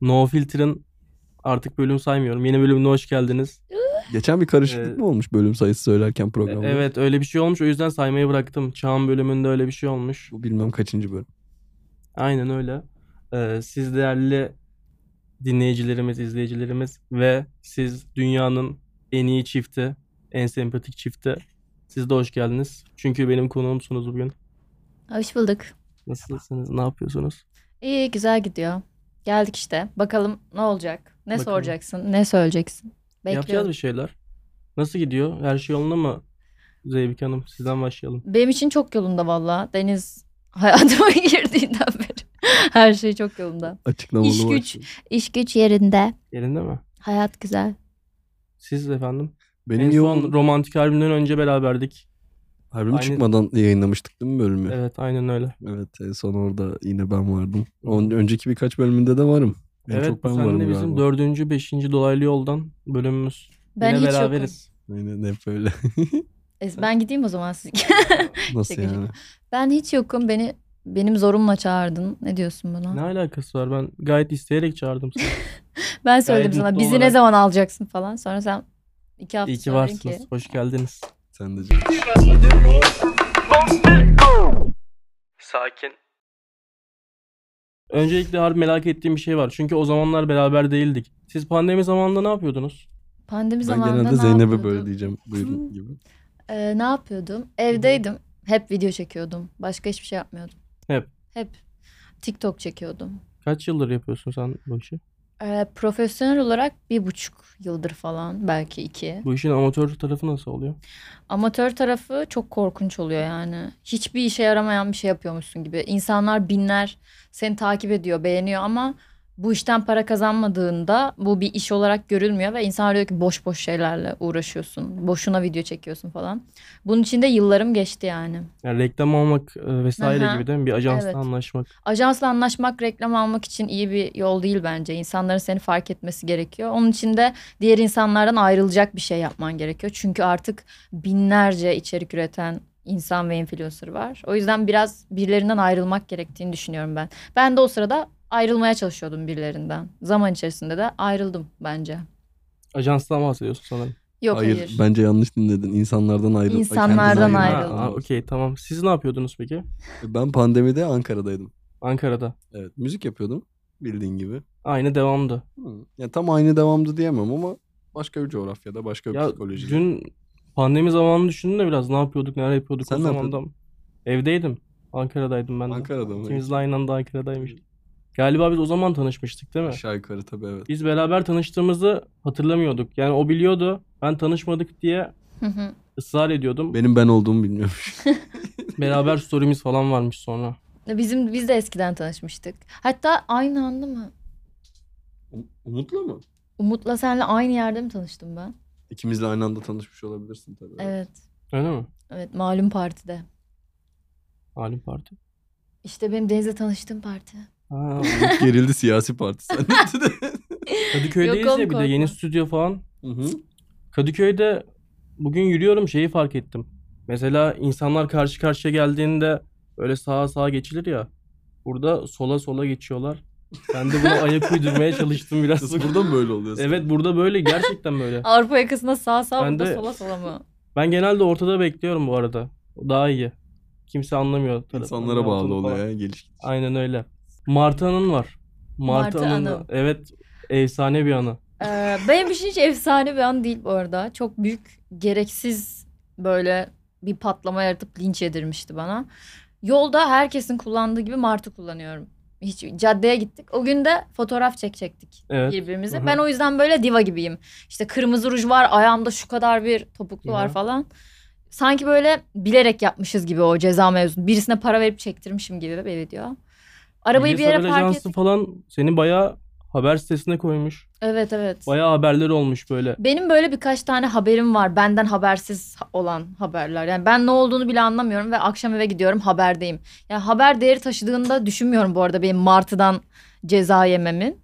No Filter'ın artık bölüm saymıyorum. Yeni bölümüne hoş geldiniz. Geçen bir karışıklık Ee, mı olmuş bölüm sayısı söylerken programda? Evet öyle bir şey olmuş. O yüzden saymayı bıraktım. Çağın bölümünde öyle bir şey olmuş. Bu bilmem kaçıncı bölüm. Aynen öyle. Ee, siz değerli dinleyicilerimiz, izleyicilerimiz ve siz dünyanın en iyi çifti, en sempatik çifti. Siz de hoş geldiniz. Çünkü benim konuğumsunuz bugün. Hoş bulduk. Nasılsınız? Ne yapıyorsunuz? İyi güzel gidiyor. Geldik işte. Bakalım ne olacak? Ne Bakalım. soracaksın? Ne söyleyeceksin? Yapacağız Bekliyorum. bir şeyler. Nasıl gidiyor? Her şey yolunda mı? Zeybik Hanım sizden başlayalım. Benim için çok yolunda valla. Deniz hayatıma girdiğinden beri. Her şey çok yolunda. Açıklamalı İş var. güç. İş güç yerinde. Yerinde mi? Hayat güzel. Siz efendim? Benim en son yoğun romantik albümden önce beraberdik. albüm Aynı- çıkmadan yayınlamıştık değil mi bölümü? Evet. Evet aynen öyle. en son orada yine ben vardım. Onun önceki birkaç bölümünde de varım. En evet çok ben varım senle bizim galiba. dördüncü, beşinci dolaylı yoldan bölümümüz. Ben Yine hiç yokum. beraberiz. Aynen hep öyle. E, Ben gideyim o zaman siz. Nasıl Şaka yani? ben hiç yokum. Beni benim zorumla çağırdın. Ne diyorsun buna? Ne alakası var? Ben gayet isteyerek çağırdım seni. ben söyledim Gayet sana mutlu bizi ne olarak- zaman alacaksın falan. Sonra sen iki hafta İyi ki sonra dedin varsınız. ki, Hoş geldiniz. Sen de canım. Sakin. Öncelikle harbi merak ettiğim bir şey var. Çünkü o zamanlar beraber değildik. Siz pandemi zamanında ne yapıyordunuz? Pandemi Ben zamanında genelde ne Zeynep'e yapıyordun? böyle diyeceğim. Buyurun gibi. Ee, ne yapıyordum? Evdeydim. Hep video çekiyordum. Başka hiçbir şey yapmıyordum. Hep. Hep. TikTok çekiyordum. Kaç yıldır yapıyorsun sen bu işi? Ee, profesyonel olarak bir buçuk yıldır falan belki iki. Bu işin amatör tarafı nasıl oluyor? Amatör tarafı çok korkunç oluyor yani. Hiçbir işe yaramayan bir şey yapıyormuşsun gibi. İnsanlar binler seni takip ediyor, beğeniyor ama bu işten para kazanmadığında bu bir iş olarak görülmüyor ve insanlar diyor ki boş boş şeylerle uğraşıyorsun. Boşuna video çekiyorsun falan. Bunun için de yıllarım geçti yani. Yani reklam almak e, vesaire Aha. gibi değil mi? Bir ajansla Evet. anlaşmak. Ajansla anlaşmak reklam almak için iyi bir yol değil bence. İnsanların seni fark etmesi gerekiyor. Onun için de diğer insanlardan ayrılacak bir şey yapman gerekiyor. Çünkü artık binlerce içerik üreten insan ve influencer var. O yüzden biraz birilerinden ayrılmak gerektiğini düşünüyorum ben. Ben de o sırada ayrılmaya çalışıyordum birilerinden. Zaman içerisinde de ayrıldım bence. Ajanstan bahsediyorsun sanırım. Yok hayır. hayır, bence yanlış dinledin. İnsanlardan ayrıl. İnsanlardan kendini ayırma. ayrıldım. Ha, Anladım. Okey tamam. Siz ne yapıyordunuz peki? Ben pandemide Ankara'daydım. Ankara'da. Evet, müzik yapıyordum bildiğin gibi. Aynı devamdı. Hı. Ya tam aynı devamdı diyemem ama başka bir coğrafyada, başka bir Ya psikolojide. dün pandemi zamanını düşündün de biraz ne yapıyorduk, nerede yapıyorduk Sen o ne zamanda. Evdeydim. Ankara'daydım ben de. Ankara'da mı? İkimiz de aynı anda Ankara'daymış. Galiba biz o zaman tanışmıştık değil mi? Aşağı yukarı tabii evet. Biz beraber tanıştığımızı hatırlamıyorduk. Yani o biliyordu. Ben tanışmadık diye Hı hı. ısrar ediyordum. Benim ben olduğumu bilmiyormuş. Beraber story'miz falan varmış sonra. Bizim biz de eskiden tanışmıştık. Hatta aynı anda mı? Um- Umut'la mı? Umut'la senle aynı yerde mi tanıştım ben? İkimizle aynı anda tanışmış olabilirsin tabii. Evet. Öyle mi? Evet, malum partide. Halim Parti. İşte benim Deniz'le tanıştığım parti. Ha, Umut gerildi siyasi parti zannetti de. Kadıköy'deyiz Yok oğlum, ya bir de yeni korkma. stüdyo falan. Hı hı. Kadıköy'de bugün yürüyorum şeyi fark ettim. Mesela insanlar karşı karşıya geldiğinde böyle sağa sağa geçilir ya. Burada sola sola geçiyorlar. Ben de buna ayak uydurmaya çalıştım biraz. Nasıl burada mı böyle oluyorsun? evet burada böyle gerçekten böyle. Avrupa yakasında sağ sağ Ben burada de- sola sola mı? Ben genelde ortada bekliyorum bu arada. Daha iyi. Kimse anlamıyor. İnsanlara bağlı Falan. oluyor ya geliş gidiş. Aynen öyle. Martı Hanım var. Martı, Martı Hanım. Hanım. Evet efsane bir anı. Ee, benim için hiç efsane bir an değil bu arada. Çok büyük gereksiz böyle bir patlama yaratıp linç yedirmişti bana. Yolda herkesin kullandığı gibi martı kullanıyorum. Hiç caddeye gittik. O gün de fotoğraf çekecektik Evet. birbirimize. Hı hı. Ben o yüzden böyle diva gibiyim. İşte kırmızı ruj var, ayağımda şu kadar bir topuklu Hı var hı. falan. Sanki böyle bilerek yapmışız gibi o ceza mevzunu. Birisine para verip çektirmişim gibi bir diyor. Arabayı bir Bilgisayar yere park ajansı ettik. falan seni bayağı haber sitesine koymuş. Evet evet. Bayağı haberler olmuş böyle. Benim böyle birkaç tane haberim var. Benden habersiz ha- olan haberler. Yani ben ne olduğunu bile anlamıyorum ve akşam eve gidiyorum haberdeyim. Yani haber değeri taşıdığını da düşünmüyorum bu arada benim Martı'dan ceza yememin.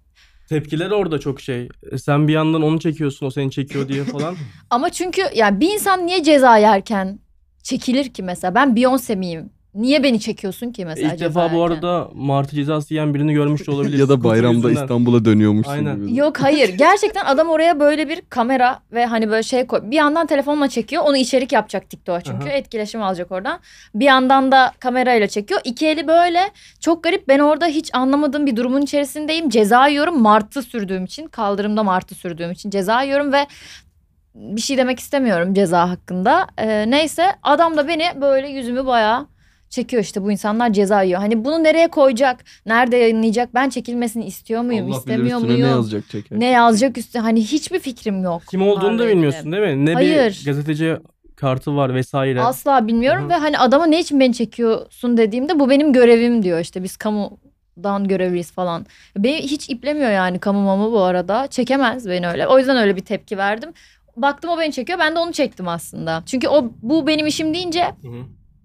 Tepkiler orada çok şey. E, Sen bir yandan onu çekiyorsun, o seni çekiyor diye falan. Ama çünkü yani bir insan niye ceza yerken çekilir ki mesela? Ben Beyoncé miyim? Niye beni çekiyorsun ki mesela? İlk defa bu cezaevden? arada martı cezası yiyen birini görmüş de olabilir. ya da Sıkıntı bayramda yüzünden. İstanbul'a dönüyormuşsun Aynen. gibi. Yok hayır. Gerçekten adam oraya böyle bir kamera ve hani böyle şey koy. Bir yandan telefonla çekiyor. Onu içerik yapacak TikTok'a çünkü. Aha. Etkileşim alacak oradan. Bir yandan da kamerayla çekiyor. İki eli böyle. Çok garip. Ben orada hiç anlamadığım bir durumun içerisindeyim. Ceza yiyorum. Martı sürdüğüm için. Kaldırımda martı sürdüğüm için ceza yiyorum ve bir şey demek istemiyorum ceza hakkında. Ee, neyse adam da beni böyle yüzümü bayağı çekiyor işte bu insanlar ceza yiyor. Hani bunu nereye koyacak? Nerede yayınlayacak? Ben çekilmesini istiyor muyum? Allah bilir istemiyor üstüne muyum? ne yazacak çeker. Ne yazacak üstü hani hiçbir fikrim yok. Kim olduğunu da Varlığıyla. bilmiyorsun değil mi? Ne Hayır. bir gazeteci kartı var vesaire. Asla bilmiyorum Hı hı. ve hani adama ne için beni çekiyorsun dediğimde bu benim görevim diyor işte biz kamudan görevliyiz falan. Beni hiç iplemiyor yani kamu mamı bu arada. Çekemez beni öyle. O yüzden öyle bir tepki verdim. Baktım o beni çekiyor ben de onu çektim aslında. Çünkü o bu benim işim deyince Hı hı.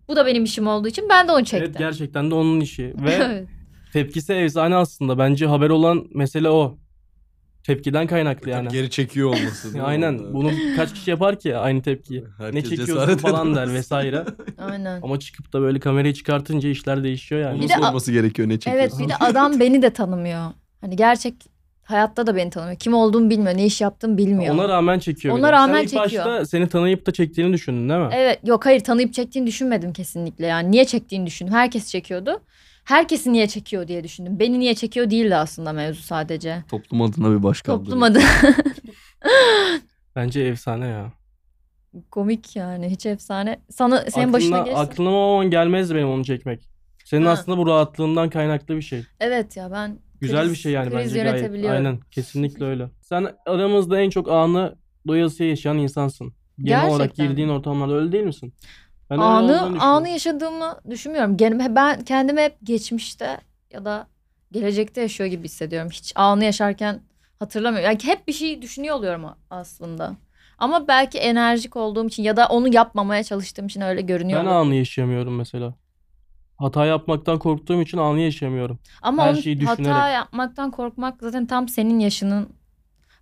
bu da benim işim olduğu için ben de onu çektim. Evet gerçekten de onun işi. Ve tepkisi efsane aslında. Bence haber olan mesele o. Tepkiden kaynaklı yani. Geri çekiyor olması. değil mi Aynen. orada? Bunu kaç kişi yapar ki aynı tepkiyi? Herkes ne çekiyorsun cesaret falan der edemez. vesaire. Aynen. Ama çıkıp da böyle kamerayı çıkartınca işler değişiyor yani. Onun Bir de- sorması gerekiyor ne Evet çekiyorsun. bir de adam beni de tanımıyor. Hani gerçek hayatta da beni tanımıyor. Kim olduğumu bilmiyor, ne iş yaptığımı bilmiyor. Ona rağmen çekiyor. bir Ona de. rağmen Sen ilk çekiyor. başta seni tanıyıp da çektiğini düşündün değil mi? Evet yok hayır tanıyıp çektiğini düşünmedim kesinlikle yani niye çektiğini düşündüm herkes çekiyordu. Herkesi niye çekiyor diye düşündüm. Beni niye çekiyor değildi aslında mevzu sadece. Toplum adına bir baş kaldırıyor. Toplum adı Bence efsane ya. komik yani hiç efsane. Sana senin başına gelirse. Aklıma o an gelmezdi benim onu çekmek. Senin Ha. aslında bu rahatlığından kaynaklı bir şey. Evet ya ben Güzel kriz- bir şey yani kriz bence gayet. yönetebiliyorum. Aynen kesinlikle öyle. Sen aramızda en çok anı doyasıya yaşayan insansın. Genel olarak Gerçekten mi? girdiğin ortamlarda öyle değil misin? Ben öyle olduğunu anı düşünüyorum. anı yaşadığımı düşünmüyorum. Gene- Ben kendimi hep geçmişte ya da gelecekte yaşıyor gibi hissediyorum. Hiç anı yaşarken hatırlamıyorum. Yani hep bir şey düşünüyor oluyorum a- aslında. Ama belki enerjik olduğum için ya da onu yapmamaya çalıştığım için öyle görünüyor. Ben olabilir. anı yaşayamıyorum mesela. Hata yapmaktan korktuğum için anı yaşayamıyorum. Ama her onun şeyi hata düşünerek. yapmaktan korkmak zaten tam senin yaşının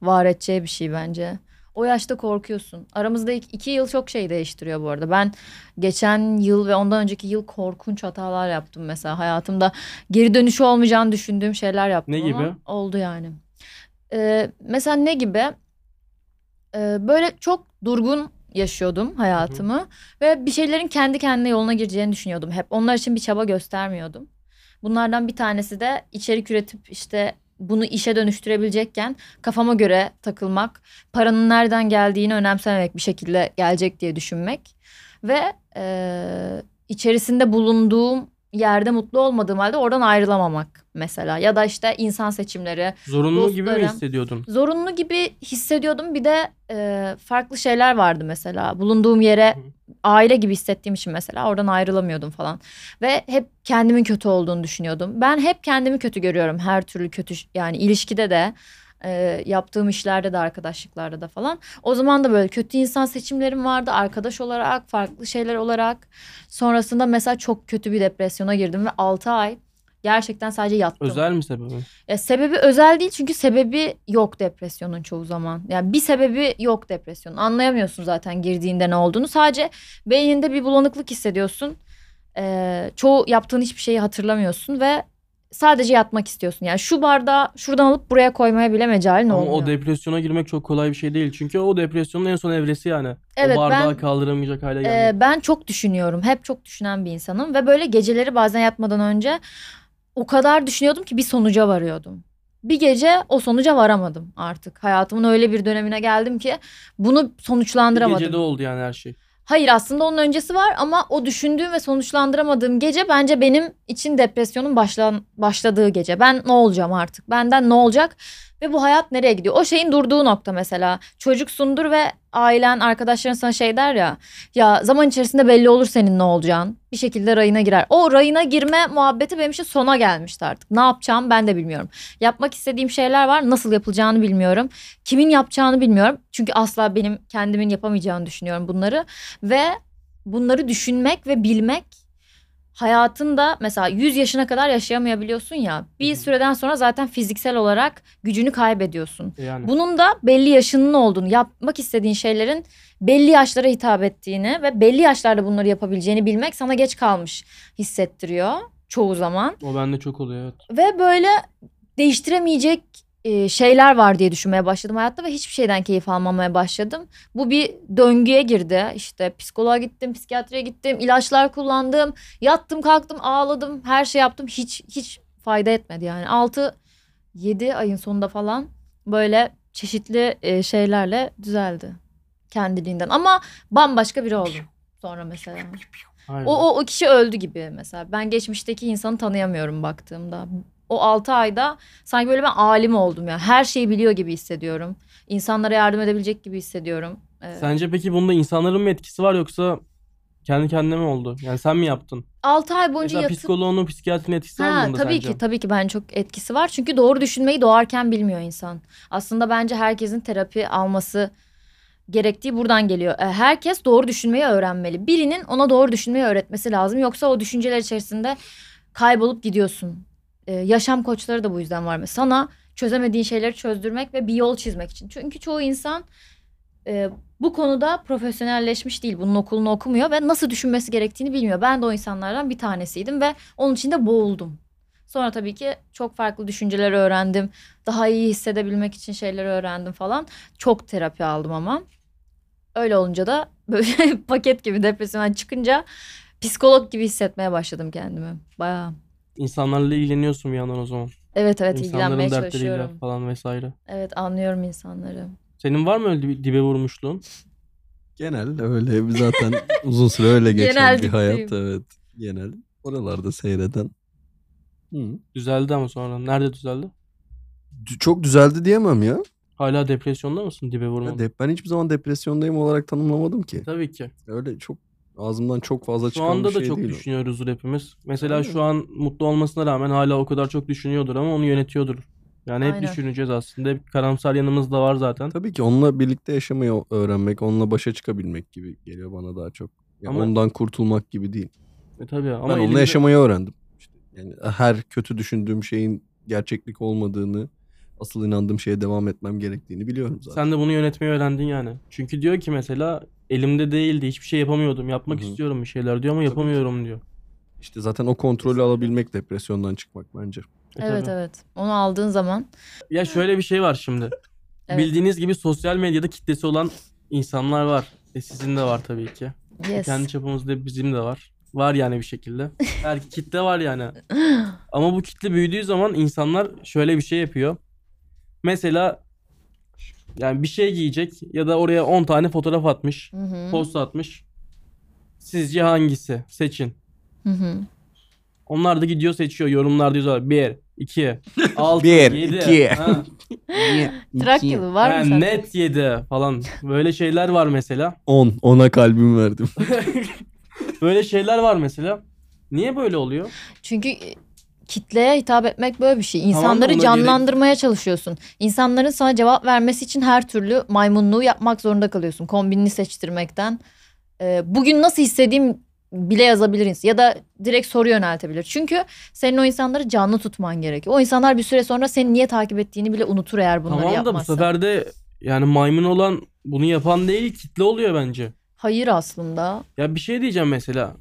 var edeceği bir şey bence. O yaşta korkuyorsun. Aramızda ik- iki yıl çok şey değiştiriyor bu arada. Ben geçen yıl ve ondan önceki yıl korkunç hatalar yaptım mesela hayatımda. Geri dönüşü olmayacağını düşündüğüm şeyler yaptım Ne ama gibi? oldu yani. Ee, mesela ne gibi? Ee, böyle çok durgun yaşıyordum hayatımı. Ve bir şeylerin kendi kendine yoluna gireceğini düşünüyordum hep. Onlar için bir çaba göstermiyordum. Bunlardan bir tanesi de içerik üretip işte bunu işe dönüştürebilecekken kafama göre takılmak, paranın nereden geldiğini önemsememek bir şekilde gelecek diye düşünmek ve eee, içerisinde bulunduğum yerde mutlu olmadığım halde oradan ayrılamamak mesela ya da işte insan seçimleri, Zorunlu gibi mi Dostlarım. hissediyordun? zorunlu gibi hissediyordum. Bir de e, farklı şeyler vardı mesela. Bulunduğum yere Hı. aile gibi hissettiğim için mesela oradan ayrılamıyordum falan. Ve hep kendimin kötü olduğunu düşünüyordum. Ben hep kendimi kötü görüyorum her türlü kötü yani ilişkide de e, yaptığım işlerde de arkadaşlıklarda da falan. O zaman da böyle kötü insan seçimlerim vardı arkadaş olarak, farklı şeyler olarak. Sonrasında mesela çok kötü bir depresyona girdim ve 6 ay gerçekten sadece yattım. Özel mi sebebi? Ya sebebi özel değil çünkü sebebi yok depresyonun çoğu zaman. Yani bir sebebi yok depresyonun. Anlayamıyorsun zaten girdiğinde ne olduğunu. Sadece beyninde bir bulanıklık hissediyorsun. Ee, çoğu yaptığın hiçbir şeyi hatırlamıyorsun ve sadece yatmak istiyorsun. Yani şu bardağı şuradan alıp buraya koymaya bile mecalin Ama olmuyor. o depresyona girmek çok kolay bir şey değil. Çünkü o depresyonun en son evresi yani. Evet, o bardağı ben- kaldıramayacak hale Ee, gelmek. ben çok düşünüyorum. Hep çok düşünen bir insanım ve böyle geceleri bazen yatmadan önce o kadar düşünüyordum ki bir sonuca varıyordum. Bir gece o sonuca varamadım artık. Hayatımın öyle bir dönemine geldim ki bunu Bir sonuçlandıramadım. gecede oldu yani her şey. Hayır aslında onun öncesi var ama o düşündüğüm ve sonuçlandıramadığım gece bence benim için depresyonun başlan, başladığı gece. Ben ne olacağım artık? Benden ne olacak? Ve bu hayat nereye gidiyor? O şeyin durduğu nokta mesela. Çocuksundur ve ailen, arkadaşların sana şey der ya. Ya zaman içerisinde belli olur senin ne olacağın. Bir şekilde rayına girer. O rayına girme muhabbeti benim için sona gelmişti artık. Ne yapacağım ben de bilmiyorum. Yapmak istediğim şeyler var. Nasıl yapılacağını bilmiyorum. Kimin yapacağını bilmiyorum. Çünkü asla benim kendimin yapamayacağını düşünüyorum bunları. Ve bunları düşünmek ve bilmek hayatında mesela 100 yaşına kadar yaşayamayabiliyorsun ya. Bir Hı hı. süreden sonra zaten fiziksel olarak gücünü kaybediyorsun. E, Yani Bunun da belli yaşının olduğunu, yapmak istediğin şeylerin belli yaşlara hitap ettiğini ve belli yaşlarda bunları yapabileceğini bilmek sana geç kalmış hissettiriyor çoğu zaman. o bende çok oluyor evet. Ve böyle değiştiremeyecek e, şeyler var diye düşünmeye başladım hayatta ve hiçbir şeyden keyif almamaya başladım. Bu bir döngüye girdi. İşte psikoloğa gittim, psikiyatriye gittim, ilaçlar kullandım, yattım, kalktım, ağladım, her şey yaptım. Hiç hiç fayda etmedi yani. 6 7 ayın sonunda falan böyle çeşitli e, şeylerle düzeldi kendiliğinden ama bambaşka biri oldum sonra mesela. Aynen. O, o, o kişi öldü gibi mesela. Ben geçmişteki insanı tanıyamıyorum baktığımda. O 6 ayda sanki böyle ben alim oldum ya. Her şeyi biliyor gibi hissediyorum. İnsanlara yardım edebilecek gibi hissediyorum. Ee, Sence peki bunda insanların mı etkisi var yoksa kendi kendine mi oldu? Yani sen mi yaptın? 6 ay boyunca Mesela yatıp... psikoloğunun, psikiyatrinin etkisi var mı Ha, bunda tabii sence? ki tabii ki ben çok etkisi var. Çünkü doğru düşünmeyi doğarken bilmiyor insan. Aslında bence herkesin terapi alması gerektiği buradan geliyor. E, Herkes doğru düşünmeyi öğrenmeli. Birinin ona doğru düşünmeyi öğretmesi lazım. Yoksa o düşünceler içerisinde kaybolup gidiyorsun. E, yaşam koçları da bu yüzden var. Mesela Sana çözemediğin şeyleri çözdürmek ve bir yol çizmek için. Çünkü çoğu insan e, bu konuda profesyonelleşmiş değil. Bunun okulunu okumuyor ve nasıl düşünmesi gerektiğini bilmiyor. Ben de o insanlardan bir tanesiydim ve onun içinde boğuldum. Sonra tabii ki çok farklı düşünceler öğrendim. Daha iyi hissedebilmek için şeyler öğrendim falan. Çok terapi aldım ama. Öyle olunca da böyle paket gibi depresyondan çıkınca psikolog gibi hissetmeye başladım kendimi. Bayağı. İnsanlarla ilgileniyorsun bir yandan o zaman. Evet İnsanların evet ilgilenmeye dertleriyle çalışıyorum. falan vesaire. Evet anlıyorum insanları. Senin var mı öyle di- dibe vurmuşluğun? Genel öyle zaten uzun süre öyle geçen Genel bir hayat gittiğim. evet. Genel oralarda seyreden. Hı. Düzeldi ama sonra. Nerede düzeldi? D- Çok düzeldi diyemem ya. Hala depresyonda mısın dibe vurmanın? Dep- Ben hiçbir zaman depresyondayım olarak tanımlamadım ki. Tabii ki. Öyle çok ağzımdan çok fazla Şu çıkan anda bir da şey çok değil o. düşünüyoruzdur hepimiz. Mesela Aynen. şu an mutlu olmasına rağmen hala o kadar çok düşünüyordur ama onu yönetiyordur. Yani hep Aynen. düşüneceğiz aslında. Hep karamsar yanımız da var zaten. Tabii ki onunla birlikte yaşamayı öğrenmek, onunla başa çıkabilmek gibi geliyor bana daha çok. Ya Ama- ondan kurtulmak gibi değil. E tabii ama ben onunla elimde- yaşamayı öğrendim. İşte yani her kötü düşündüğüm şeyin gerçeklik olmadığını, asıl inandığım şeye devam etmem gerektiğini biliyorum zaten. Sen de bunu yönetmeyi öğrendin yani. Çünkü diyor ki mesela elimde değildi. Hiçbir şey yapamıyordum. Yapmak Hı hı. istiyorum bir şeyler diyor ama ki. yapamıyorum diyor. E İşte zaten o kontrolü alabilmek depresyondan çıkmak bence. E evet tabii. evet. Onu aldığın zaman Ya şöyle bir şey var şimdi. Evet. Bildiğiniz gibi sosyal medyada kitlesi olan insanlar var. E sizin de var tabii ki. yes. Kendi çapımızda bizim de var. Var yani bir şekilde. Her kitle var yani. Ama bu kitle büyüdüğü zaman insanlar şöyle bir şey yapıyor. Mesela yani bir şey giyecek ya da oraya 10 tane fotoğraf atmış, Hı hı. post atmış. Sizce hangisi? Seçin. Hı hı. Onlar da gidiyor seçiyor. Yorumlarda yazıyorlar. 1, 2, 6, Bir, 7. iki. Trakyalı var mı sende? net 7 falan. Böyle şeyler var mesela. 10. Ona kalbimi verdim. Böyle şeyler var mesela. Niye böyle oluyor? Çünkü e, kitleye hitap etmek böyle bir şey. Tamam da İnsanları ona canlandırmaya çalışıyorsun. İnsanların sana cevap vermesi için her türlü maymunluğu yapmak zorunda kalıyorsun. Kombinini seçtirmekten. E, bugün nasıl istediğim bile yazabiliriz ya da direkt soru yöneltebilir. Çünkü senin o insanları canlı tutman gerekiyor. O insanlar bir süre sonra seni niye takip ettiğini bile unutur eğer bunları tamam da bu yapmazsan. sefer de yani maymun olan bunu yapan değil kitle oluyor bence. Hayır aslında. Ya bir şey diyeceğim mesela.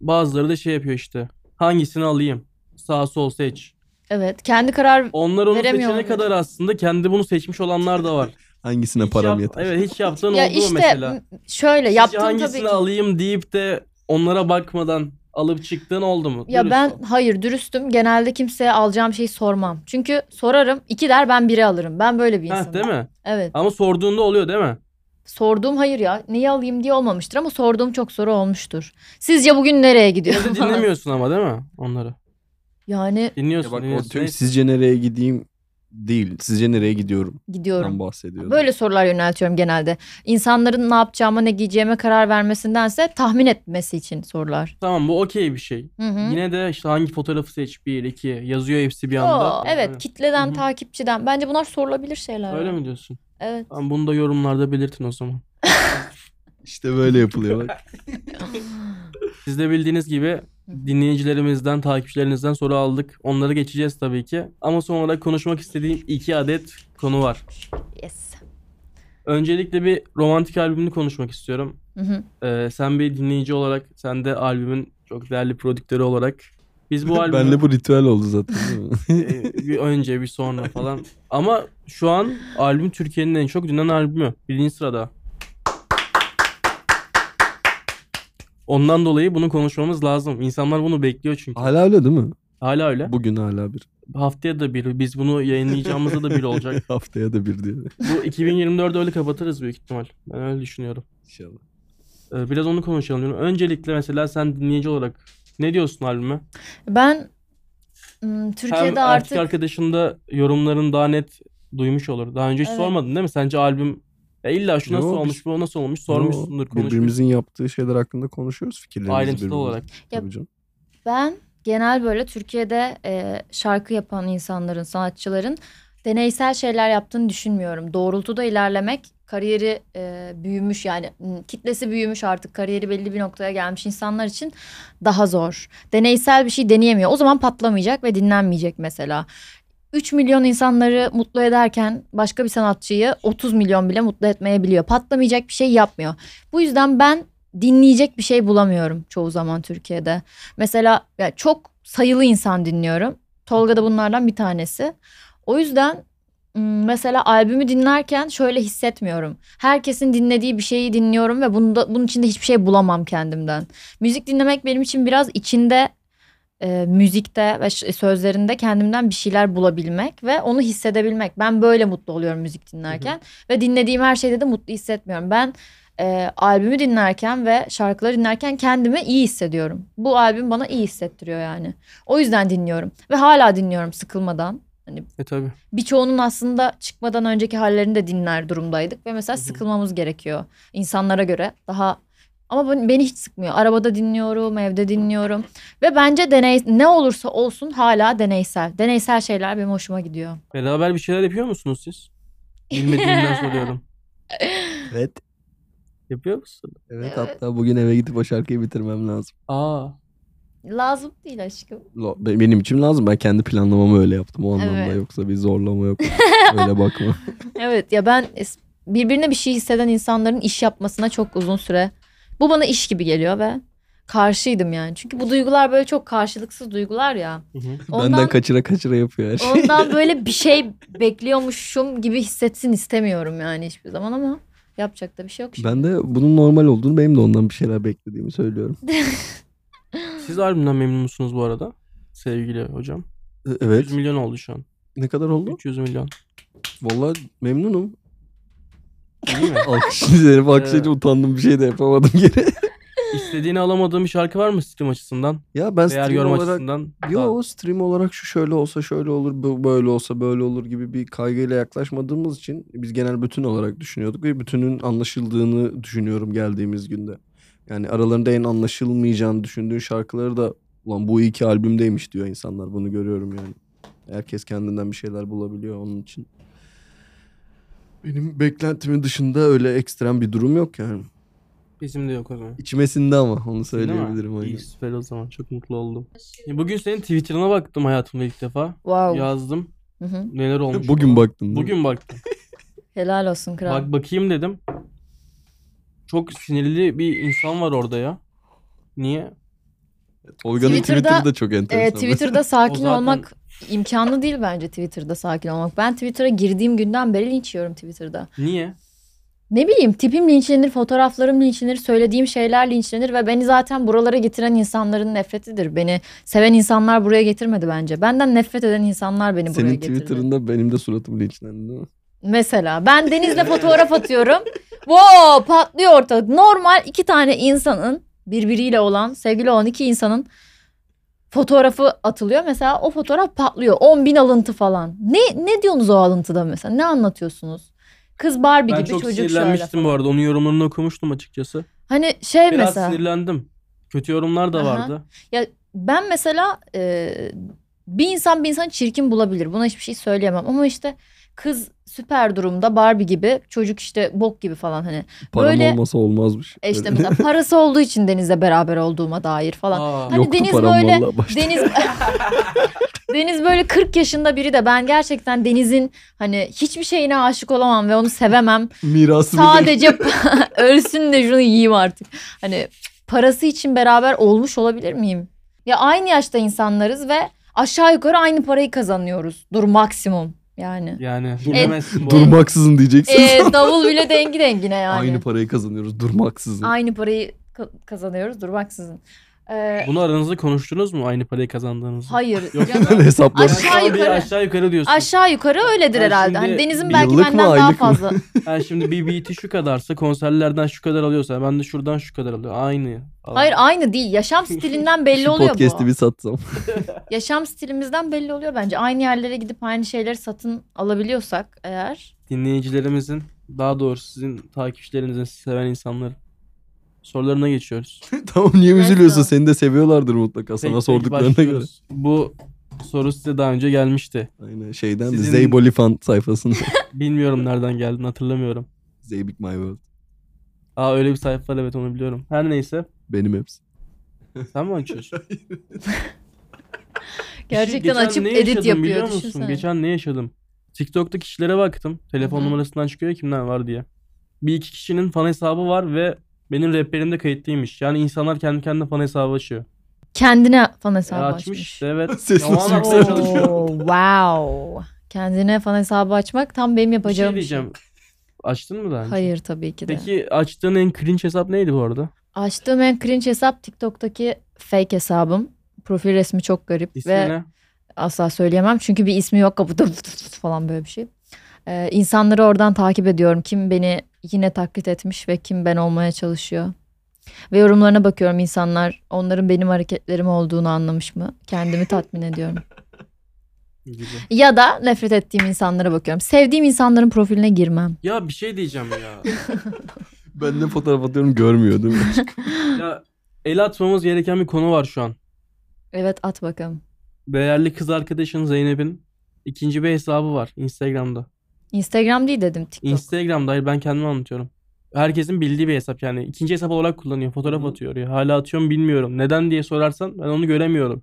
Bazıları da şey yapıyor işte. Hangisini alayım? Sağ sol seç. Evet, kendi karar Onlar onu Veremiyor seçene muydu? kadar aslında kendi bunu seçmiş olanlar da var. Hangisine Hiç yap- param yeter? Evet hiç yaptığın ya oldu mu işte mesela? m- şöyle Sizce yaptığım hangisini tabii ki. alayım deyip de onlara bakmadan alıp çıktığın oldu mu? Ya Dürüst ben ol. hayır dürüstüm. Genelde kimseye alacağım şeyi sormam. Çünkü sorarım iki der ben biri alırım. Ben böyle bir Heh, insanım. değil mi? Evet. Ama sorduğunda oluyor değil mi? Sorduğum hayır ya. Neyi alayım diye olmamıştır ama sorduğum çok soru olmuştur. Sizce bugün nereye Yine de gidiyorum? dinlemiyorsun ama değil mi onları? yani Dinliyorsun Ya bak o dinliyorsun. tüm Neyse. sizce nereye gideyim değil. Sizce nereye gidiyorum? Ben gidiyorum. bahsediyorum. Böyle sorular yöneltiyorum genelde. İnsanların ne yapacağıma ne giyeceğime karar vermesindense tahmin etmesi için sorular. Tamam bu okey bir şey. Hı hı. Yine de işte hangi fotoğrafı seç bir iki yazıyor hepsi bir Yo, anda. evet Öyle. kitleden Hı hı. takipçiden. Bence bunlar sorulabilir şeyler. Öyle mi diyorsun? Evet. Tamam, bunu da yorumlarda belirtin o zaman. İşte böyle yapılıyor bak. Siz de bildiğiniz gibi hı. Dinleyicilerimizden, takipçilerimizden soru aldık. Onları geçeceğiz tabii ki. Ama son olarak konuşmak istediğim iki adet konu var. Yes. Öncelikle bir romantik albümünü konuşmak istiyorum. Hı hı. Ee, sen bir dinleyici olarak, sen de albümün çok değerli prodüktörü olarak. Biz bu albümü... Benle bu ritüel oldu zaten. değil mi? Ee, bir önce bir sonra falan. Ama şu an albüm Türkiye'nin en çok dinlenen albümü. Birinci sırada. Ondan dolayı bunu konuşmamız lazım. İnsanlar bunu bekliyor çünkü. hala öyle değil mi? Hala öyle. Bugün hala bir. Haftaya da bir. Biz bunu yayınlayacağımızda da bir olacak. Haftaya da bir diye. Bu 2024'ü öyle kapatırız büyük ihtimal. Ben öyle düşünüyorum. İnşallah. Ee, Biraz onu konuşalım diyorum. Öncelikle mesela sen dinleyici olarak ne diyorsun albüme? Ben hmm, Türkiye'de Hem artık erkek arkadaşın da yorumların daha net duymuş olur. Daha önce hiç Evet. sormadın değil mi? Sence albüm ya illa şu nasıl Yo, olmuş, biz- bu nasıl olmuş sormuşsundur, konuşmuşsundur. Birbirimizin yaptığı şeyler hakkında konuşuyoruz fikirlerimizi Ayrıntılı birbirimize. olarak. Tabii canım. ben genel böyle Türkiye'de e, şarkı yapan insanların, sanatçıların deneysel şeyler yaptığını düşünmüyorum. Doğrultuda ilerlemek kariyeri e, büyümüş yani m, kitlesi büyümüş artık kariyeri belli bir noktaya gelmiş insanlar için daha zor. Deneysel bir şey deneyemiyor. O zaman patlamayacak ve dinlenmeyecek mesela. 3 milyon insanları mutlu ederken başka bir sanatçıyı 30 milyon bile mutlu etmeyebiliyor. Patlamayacak bir şey yapmıyor. Bu yüzden ben dinleyecek bir şey bulamıyorum çoğu zaman Türkiye'de. Mesela ya çok sayılı insan dinliyorum. Tolga da bunlardan bir tanesi. O yüzden m, mesela albümü dinlerken şöyle hissetmiyorum. Herkesin dinlediği bir şeyi dinliyorum ve bunda, bunun içinde hiçbir şey bulamam kendimden. Müzik dinlemek benim için biraz içinde e, müzikte ve ş- sözlerinde kendimden bir şeyler bulabilmek ve onu hissedebilmek. Ben böyle mutlu oluyorum müzik dinlerken ve dinlediğim her şeyde de mutlu hissetmiyorum. Ben e, albümü dinlerken ve şarkıları dinlerken kendimi iyi hissediyorum. Bu albüm bana iyi hissettiriyor yani. O yüzden dinliyorum ve hala dinliyorum sıkılmadan. E tabi. Birçoğunun aslında çıkmadan önceki hallerini de dinler durumdaydık ve mesela Hı hı. sıkılmamız gerekiyor insanlara göre daha ama ben- beni hiç sıkmıyor. Arabada dinliyorum, evde dinliyorum ve bence deney ne olursa olsun hala deneysel. Deneysel şeyler benim hoşuma gidiyor. Beraber bir şeyler yapıyor musunuz siz? Bilmediğimden soruyorum. Evet. Yapıyor musun? Evet Evet. hatta bugün eve gidip o şarkıyı bitirmem lazım. Aa. Lazım değil aşkım. Lo- be- Benim için lazım. Ben kendi planlamamı öyle yaptım o anlamda. Evet. Yoksa bir zorlama yok. öyle bakma. Evet ya ben es- birbirine bir şey hisseden insanların iş yapmasına çok uzun süre. Bu bana iş gibi geliyor ve karşıydım yani. Çünkü bu duygular böyle çok karşılıksız duygular ya. Hı hı. Ondan Benden kaçıra kaçıra yapıyor her şey. ondan böyle bir şey bekliyormuşum gibi hissetsin istemiyorum yani hiçbir zaman ama yapacak da bir şey yok. şimdi. Ben de bunun normal olduğunu benim de ondan bir şeyler beklediğimi söylüyorum. Siz albümden memnun musunuz bu arada? Sevgili hocam. E, Evet. 100 milyon oldu şu an. Ne kadar oldu? 300 milyon. Vallahi memnunum. Değil mi? Alkışlayınca alkışlayınca utandım bir şey de yapamadım geri. İstediğini alamadığın bir şarkı var mı stream açısından? ya ben Değer stream yorum olarak açısından. Yo stream olarak şu şöyle olsa şöyle olur, bu böyle olsa böyle olur gibi bir kaygıyla yaklaşmadığımız için biz genel bütün olarak düşünüyorduk ve bütünün anlaşıldığını düşünüyorum geldiğimiz günde. Yani aralarında en anlaşılmayacağını düşündüğün şarkıları da ulan bu iki albümdeymiş diyor insanlar. Bunu görüyorum yani. Herkes kendinden bir şeyler bulabiliyor onun için. Benim beklentimin dışında öyle ekstrem bir durum yok yani. Bizim de yok o zaman. İçime sindi ama onu Değil mi? söyleyebilirim. aynen. İyi süper o zaman. Çok mutlu oldum. Bugün senin Twitter'ına baktım hayatımda ilk defa. Wow. Yazdım. Hı hı. Neler olmuş. Bugün falan. baktım. değil mi? Bugün baktım. Helal olsun kral. Bak bakayım dedim. Çok sinirli bir insan var orada ya. Niye? Tolga'nın Twitter'da- Twitter'da, da çok enteresan. Ee, Twitter'da O sakin zaten- olmak imkanlı değil bence Twitter'da sakin olmak. Ben Twitter'a girdiğim günden beri linç yiyorum Twitter'da. Niye? Ne bileyim tipim linçlenir, fotoğraflarım linçlenir, söylediğim şeyler linçlenir ve beni zaten buralara getiren insanların nefretidir. Beni seven insanlar buraya getirmedi bence. Benden nefret eden insanlar beni Hani buraya Senin getirdi. Twitter'ında benim de suratım linçlendi değil mi? Mesela ben denizle fotoğraf atıyorum. Wow patlıyor ortalık. Normal iki tane insanın birbiriyle olan, sevgili olan iki insanın fotoğrafı atılıyor. Mesela o fotoğraf patlıyor. 10 bin alıntı falan. Ne ne diyorsunuz o alıntıda mesela? Ne anlatıyorsunuz? Kız Barbie ben gibi çok çocuk şöyle. sinirlenmiştim bu arada. Onun yorumlarını okumuştum açıkçası. Hani şey Biraz mesela. sinirlendim. Kötü yorumlar da Aha. vardı. Ya ben mesela e, bir insan bir insan çirkin bulabilir. Buna hiçbir şey söyleyemem. Ama işte kız süper durumda Barbie gibi çocuk işte bok gibi falan hani. Param Böyle- olmasa olmazmış. E işte Böyle- mesela parası olduğu için Deniz'le beraber olduğuma dair falan. Aa, Hani Yoktu Deniz param böyle- vallahi başta. Deniz Deniz böyle 40 yaşında biri de ben gerçekten Deniz'in hani hiçbir şeyine aşık olamam ve onu sevemem. Mirası bir de- Sadece ölsün de şunu yiyeyim artık. Hani parası için beraber olmuş olabilir miyim? Ya aynı yaşta insanlarız ve aşağı yukarı aynı parayı kazanıyoruz. Dur maksimum yani. yani E, bilemezsin bu arada. Durmaksızın diyeceksin. Ee, davul bile dengi dengine yani. Aynı parayı kazanıyoruz durmaksızın. Aynı parayı ka- kazanıyoruz durmaksızın. Ee, Bunu aranızda konuştunuz mu aynı parayı kazandığınızı? hayır. Yok. canım. Böyle hesaplar. Ben sana bir yukarı. aşağı yukarı diyorsun. Aşağı yukarı öyledir Ben herhalde. Hani şimdi Deniz'in bir belki yıllık mı, benden daha aylık mı? fazla. Yani şimdi BBT şu kadarsa konserlerden şu kadar alıyorsa ben de şuradan şu kadar alıyorum. Aynı. falan. Hayır aynı değil. Yaşam stilinden belli Şu oluyor podcast'i bu. bir satsam. Yaşam stilimizden belli oluyor bence. Aynı yerlere gidip aynı şeyleri satın alabiliyorsak eğer. Dinleyicilerimizin daha doğrusu sizin takipçilerinizin sizi seven insanların sorularına geçiyoruz. tamam niye Neyse. üzülüyorsun? Seni de seviyorlardır mutlaka Tek sana tek sorduklarına göre. başlıyoruz. Bu soru size daha önce gelmişti. Aynen şeyden de Sizin- Zeybolifan sayfasında. Bilmiyorum nereden geldiğini hatırlamıyorum. Zeybik My World. Aa öyle bir sayfa var evet onu biliyorum. Her neyse Benim hepsi. sen mi açıyorsun? Gerçekten geçen açıp ne edit yaşadım yapıyor, biliyor musun? düşünsene. Geçen ne yaşadım? TikTok'ta kişilere baktım. Telefon Hı hı. numarasından çıkıyor ya kimden var diye. Bir iki kişinin fan hesabı var ve benim rehberimde kayıtlıymış. Yani insanlar kendi kendine fan hesabı açıyor. Kendine fan E, hesabı açmış açmış. işte evet. şey Ses Ya o nasıl an Oo, yükseldi? aklıma- wow. Kendine fan hesabı açmak tam benim Bir yapacağım şey bir şey. diyeceğim. Açtın mı daha önce? Hayır tabii ki de. Peki açtığın en cringe hesap neydi bu arada? Açtığım en cringe hesap TikTok'taki fake hesabım. Profil resmi çok garip İsmi ve ne? asla söyleyemem. Çünkü bir ismi yok kapıda falan böyle bir şey. Ee, insanları oradan takip ediyorum. Kim beni yine taklit etmiş ve kim ben olmaya çalışıyor. Ve yorumlarına bakıyorum insanlar onların benim hareketlerim olduğunu anlamış mı? Kendimi tatmin ediyorum. Gibi. Ya da nefret ettiğim insanlara bakıyorum. Sevdiğim insanların profiline girmem. Ya bir şey diyeceğim ya. Ben de fotoğraf atıyorum görmüyor değil mi? ya el atmamız gereken bir konu var şu an. Evet at bakalım. Değerli kız arkadaşın Zeynep'in ikinci bir hesabı var Instagram'da. Instagram değil dedim TikTok. Instagram'da hayır ben kendime anlatıyorum. Herkesin bildiği bir hesap yani. ikinci hesap olarak kullanıyor. Fotoğraf Hı. atıyor. Ya. Hala atıyorum bilmiyorum. Neden diye sorarsan ben onu göremiyorum.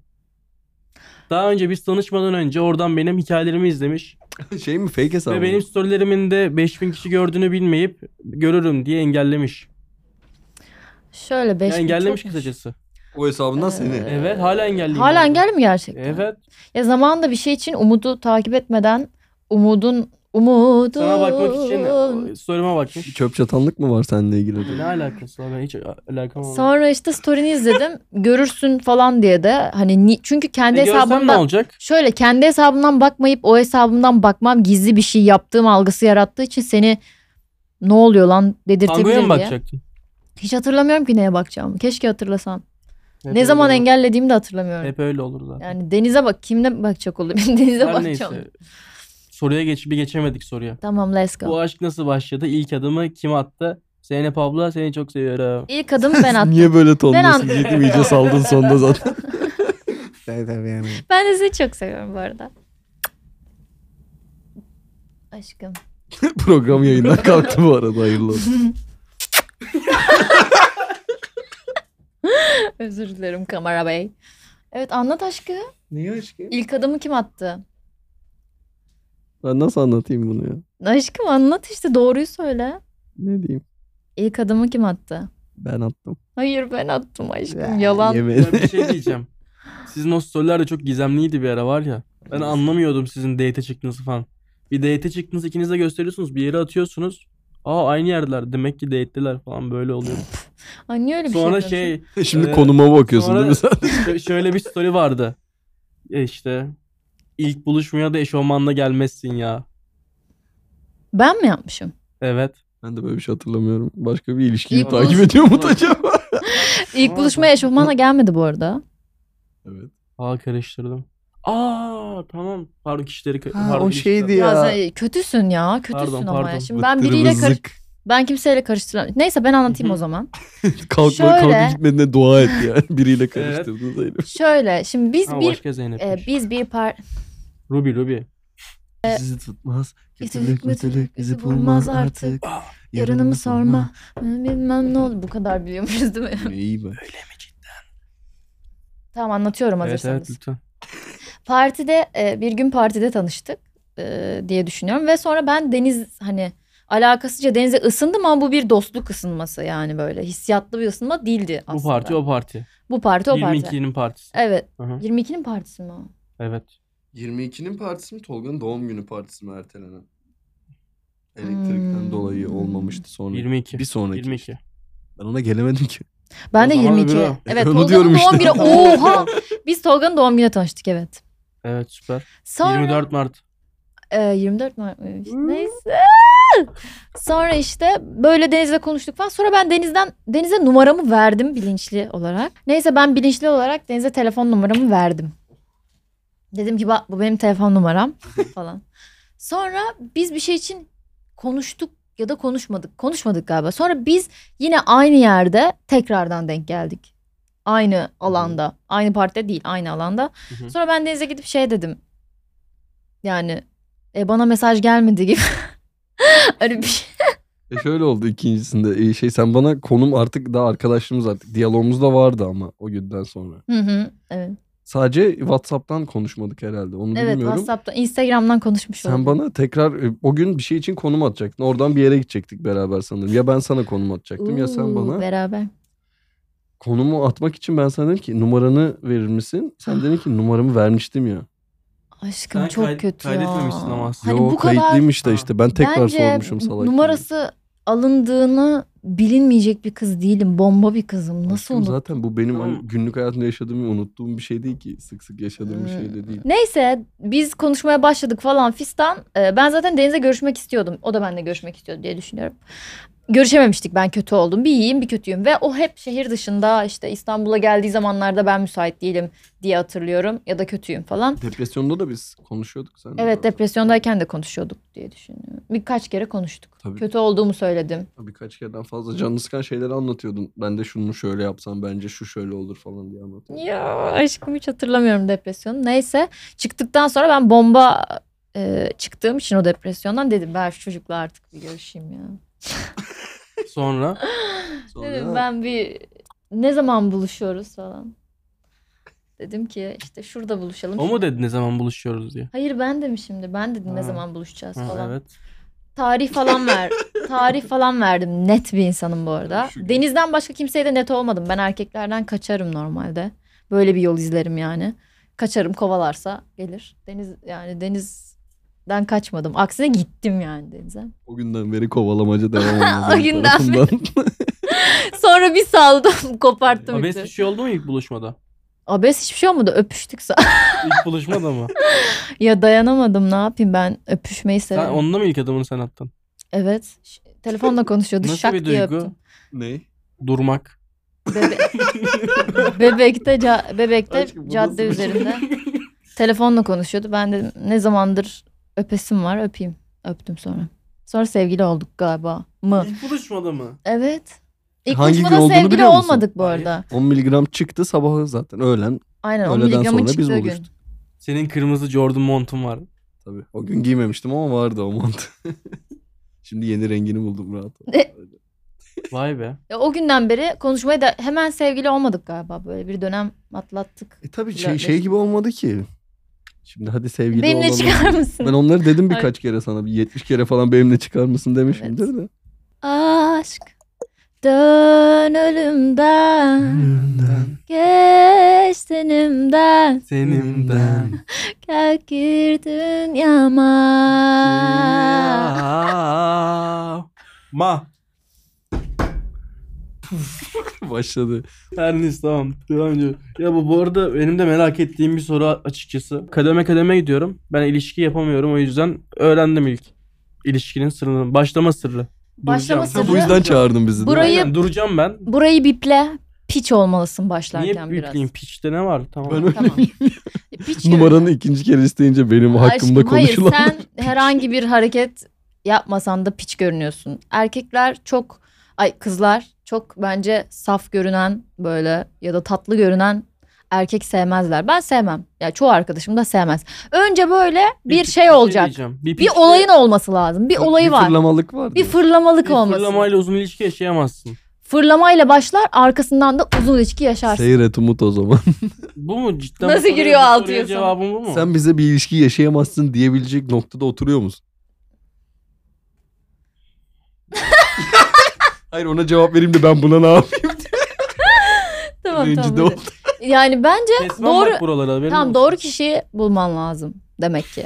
Daha önce biz tanışmadan önce oradan benim hikayelerimi izlemiş. şey mi fake hesap Ve mı? benim storylerimin de 5000 kişi gördüğünü bilmeyip görürüm diye engellemiş. Şöyle 5 Yani engellemiş kısacası. O hesabından seni. Ee, Evet hala engelliyim. Hala orada. engel mi gerçekten? Evet. Ya zamanında bir şey için umudu takip etmeden umudun umudun. Sana bakmak için story'ime bakmış. Hani Çöp çatanlık mı var seninle ilgili? Ne alakası var? Ben hiç alakam olmadı. Sonra işte story'ni izledim. Görürsün falan diye de hani ni- çünkü kendi E, görsem ne hesabımdan olacak? şöyle kendi hesabımdan bakmayıp o hesabımdan bakmam gizli bir şey yaptığım algısı yarattığı için seni ne oluyor lan Tango'ya dedirtebilir mı diye. bakacaktın? Hiç hatırlamıyorum ki neye bakacağımı. Keşke hatırlasam. Hep ne öyle zaman olur. engellediğimi de hatırlamıyorum. Hep öyle olur zaten. Yani denize bak kimle bakacak olur? denize Her bakacağım. neyse. Soruya geç, bir geçemedik soruya. Tamam let's go. Bu aşk nasıl başladı? İlk adımı kim attı? Zeynep abla seni çok seviyorum. İlk adım ben attım. Niye böyle Ben tonluyorsun? anladım. Yedim iyice saldın sonda zaten. tabii tabii yani. Ben de sizi çok seviyorum bu arada. Aşkım. Program yayından kalktı bu arada hayırlı olsun. Özür dilerim kamera bey. Evet anlat aşkı. Niye aşkım? İlk adımı kim attı? Ben nasıl anlatayım bunu ya? Aşkım anlat işte doğruyu söyle. Ne diyeyim? İlk adımı kim attı? Ben attım. Hayır ben attım aşkım. Yalan. Ya bir Yemedi. şey diyeceğim. Sizin o storyler de çok gizemliydi bir ara var ya. Ben anlamıyordum sizin date'e çıktığınızı falan. Bir date'e çıktınız ikiniz de gösteriyorsunuz. Bir yere atıyorsunuz. Aa aynı yerdeler. Demek ki date'liler falan böyle oluyor. Ay niye öyle bir Sonra şey, şey Şimdi Ee, konuma bakıyorsun değil mi sen? sonra şö- şöyle bir story vardı. E işte ilk buluşmaya da eşofmanla gelmezsin ya. Ben mi yapmışım? Evet. Ben de böyle bir şey hatırlamıyorum. Başka bir ilişkiyi İlk takip buluşma- ediyor mu acaba? İlk Aa, buluşmaya eşofmana gelmedi bu arada. evet. Aa karıştırdım. Aa tamam. Pardon kişileri ka- Ha, pardon o kişiler. şeydi Ya, ya. sen- kötüsün ya. Kötüsün Pardon, ama pardon. ya. Şimdi ben Vıttırı biriyle karış... vızlık. Ben kimseyle karıştıramam. Neyse ben anlatayım Hı o hı. zaman. Kalk, Şöyle- kalk gitmediğine dua et yani. Biriyle karıştırdın Zeynep. Şöyle şimdi biz Ha, bir başka Zeynep. e, biz bir par Ruby Ruby. Bizi tutmaz. Kötülük kötülük, mütülük bizi bizi bulmaz bulmaz artık. Yarınımı sorma. Bilmem ne oldu. Bu kadar biliyormuşuz değil mi? İyi be. Tamam anlatıyorum Evet hazırsanız. evet lütfen. Partide e, bir gün partide tanıştık e, diye düşünüyorum ve sonra ben deniz hani alakasızca denize ısındım ama bu bir dostluk ısınması yani böyle hissiyatlı bir ısınma değildi aslında. Bu parti o parti. Bu parti o parti. 22'nin partisi. Evet. Hı hı. 22'nin partisi mi o? Evet. 22'nin partisi mi Tolga'nın doğum günü partisi mi ertelenen? Elektrikten Hmm. dolayı olmamıştı sonra. 22. Bir sonraki. 22. Ben ona gelemedim ki. Ben O de zaman 22. öbürü o. Evet Onu Tolga'nın diyorum doğum işte. günü. Oha! Biz Tolga'nın doğum gününe tanıştık evet. Evet süper. Sonra 24 Mart. Ee, 24 Mart mıymış? Hmm. Neyse. Sonra işte böyle Deniz'le konuştuk falan. Sonra ben Deniz'den Deniz'e numaramı verdim bilinçli olarak. Neyse ben bilinçli olarak Deniz'e telefon numaramı verdim. Dedim ki bak bu benim telefon numaram falan. Sonra biz bir şey için konuştuk ya da konuşmadık. Konuşmadık galiba. Sonra biz yine aynı yerde tekrardan denk geldik. Aynı alanda. Aynı partide değil aynı alanda. Hı hı. Sonra ben Deniz'e gidip şey dedim. Yani e, bana mesaj gelmedi gibi. Öyle bir şey. E şöyle oldu ikincisinde. E şey sen bana konum artık daha arkadaşlığımız artık. Diyalogumuz da vardı ama o günden sonra. Hı hı, evet. Sadece Whatsapp'tan konuşmadık herhalde. Onu evet bilmiyorum. WhatsApp'tan, Instagram'dan konuşmuş Sen olduk. bana tekrar e, o gün bir şey için konum atacaktın. Oradan bir yere gidecektik beraber sanırım. Ya ben sana konum atacaktım ya sen Uuu, bana. Beraber. Konumu atmak için ben sana dedim ki numaranı verir misin? Sen dedin ki numaramı vermiştim ya. Aşkım Sen çok kay- kötü ya. kaydetmemişsin ama aslında. Hani Yo bu kadar kayıtlıymış da Ha. işte ben tekrar bence sormuşum salak. gibi. numarası alındığını bilinmeyecek bir kız değilim. Bomba bir kızım. Nasıl Aşkım unut? Zaten bu benim hani Tamam. günlük hayatımda yaşadığım unuttuğum bir şey değil ki. Sık sık yaşadığım bir Ee, şey de değil. Neyse biz konuşmaya başladık falan fistan. Ee, Ben zaten Deniz'le görüşmek istiyordum. O da benimle görüşmek istiyordu diye düşünüyorum. Görüşememiştik ben kötü oldum. Bir iyiyim bir kötüyüm. Ve o hep şehir dışında işte İstanbul'a geldiği zamanlarda ben müsait değilim diye hatırlıyorum. Ya da kötüyüm falan. Depresyonda da biz konuşuyorduk sen. Evet depresyondayken de konuşuyorduk diye düşünüyorum. Birkaç kere konuştuk. Tabii. Kötü olduğumu söyledim. Birkaç kereden fazla canını sıkan şeyleri anlatıyordun. Ben de şunu şöyle yapsam bence şu şöyle olur falan diye anlatıyordun. Ya aşkım hiç hatırlamıyorum depresyonu. Neyse çıktıktan sonra ben bomba e, çıktığım için o depresyondan dedim ben şu çocukla artık bir görüşeyim ya. Sonra Sonra Eh, Dedim ben bir ne zaman buluşuyoruz falan. Dedim ki işte şurada buluşalım. o mu dedi ne zaman buluşuyoruz diye. Hayır ben demişimdir. Ben dedim ne Ha. zaman buluşacağız Ha, falan. evet. Tarih falan ver. Tarih falan verdim. Net bir insanım bu arada. Şu gün. Denizden başka kimseye de net olmadım. Ben erkeklerden kaçarım normalde. Böyle bir yol izlerim yani. Kaçarım kovalarsa gelir. Deniz yani denizden kaçmadım. Aksine gittim yani denize. o günden beri kovalamaca devam oldu. O benim günden tarafımdan. Sonra bir saldım koparttım. Abes ipi. bir şey oldu mu ilk buluşmada? Abes hiçbir şey olmadı. Öpüştük sa- İlk buluşmada mı? Ya dayanamadım ne yapayım ben öpüşmeyi sen, severim. onunla mı ilk adımını sen attın? Evet. Ş- Telefonla konuşuyordu Nasıl şak bir diye duygu? öptüm. ne? Durmak. Bebe- bebekte ca- bebekte Aşkım bu nasıl cadde bir- şey? üzerinde telefonla konuşuyordu. Ben de ne zamandır öpesim var öpeyim. Öptüm sonra. Sonra sevgili olduk galiba mı? İlk buluşmada mı? Evet. İlk Hangi gün buluşmada olduğunu sevgili biliyor musun? olmadık bu Hayır. arada. 10 miligram çıktı sabahı zaten öğlen. Aynen o Öğleden miligramın sonra biz çıktığı gün. buluştuk. Senin kırmızı Jordan montun var. Tabii. O gün giymemiştim ama vardı o mont. Şimdi yeni rengini buldum rahat. ol. Ne? Vay be. Ya o günden beri konuşmaya da hemen sevgili olmadık galiba. Böyle bir dönem atlattık. E tabii şey, Flörtleştik. şey gibi olmadı ki. Şimdi hadi sevgili Benimle olalım. çıkar mısın? Ben onları dedim Ay. birkaç kere sana. Bir 70 kere falan benimle çıkar mısın demişimdir de. Aşk dön ölümden geç senimden Senimden. gel gir dünyama. Ma. Başladı. Her neyse tamam. Devam ediyorum. Ya bu, bu arada benim de merak ettiğim bir soru açıkçası. Kademe kademe gidiyorum. Ben ilişki yapamıyorum o yüzden öğrendim ilk. İlişkinin sırrını. Başlama sırrı. Başlama Duracağım. Sen sırrı. bu yüzden çağırdın bizi. değil mi? Burayı- Aynen, duracağım ben. Burayı biple. Piç olmalısın Niye başlarken biraz. bipleyeyim? Piçte ne var? Tamam. Ben öyle Tamam. E, Piç numaranı görünüyor. ikinci kere isteyince benim hakkımda Aşkım, konuşulan. Hayır sen herhangi bir hareket yapmasan da piç görünüyorsun. Erkekler çok ay kızlar çok bence saf görünen böyle ya da tatlı görünen erkek sevmezler. Ben sevmem. Ya çoğu arkadaşım da sevmez. Önce böyle bir, pi- şey olacak. diyeceğim. bir pitch'te olayın olması lazım. Bir olayı var. fırlamalık var. bir diyor. fırlamalık bir olması. Fırlamayla uzun ilişki yaşayamazsın. Fırlamayla başlar, arkasından da uzun ilişki yaşarsın. Seyret Umut o zaman. Bu mu cidden? Nasıl bu soruya- giriyor bu soruya altıya sana? Cevabın bu mu? Sen bize bir ilişki yaşayamazsın diyebilecek noktada oturuyor musun? Hayır ona cevap vereyim de ben buna ne yapayım? tamam Rencide tamam. oldum. Yani bence Kesmem doğru- bak buralara. haberin Tamam olsun. doğru kişiyi bulman lazım demek ki.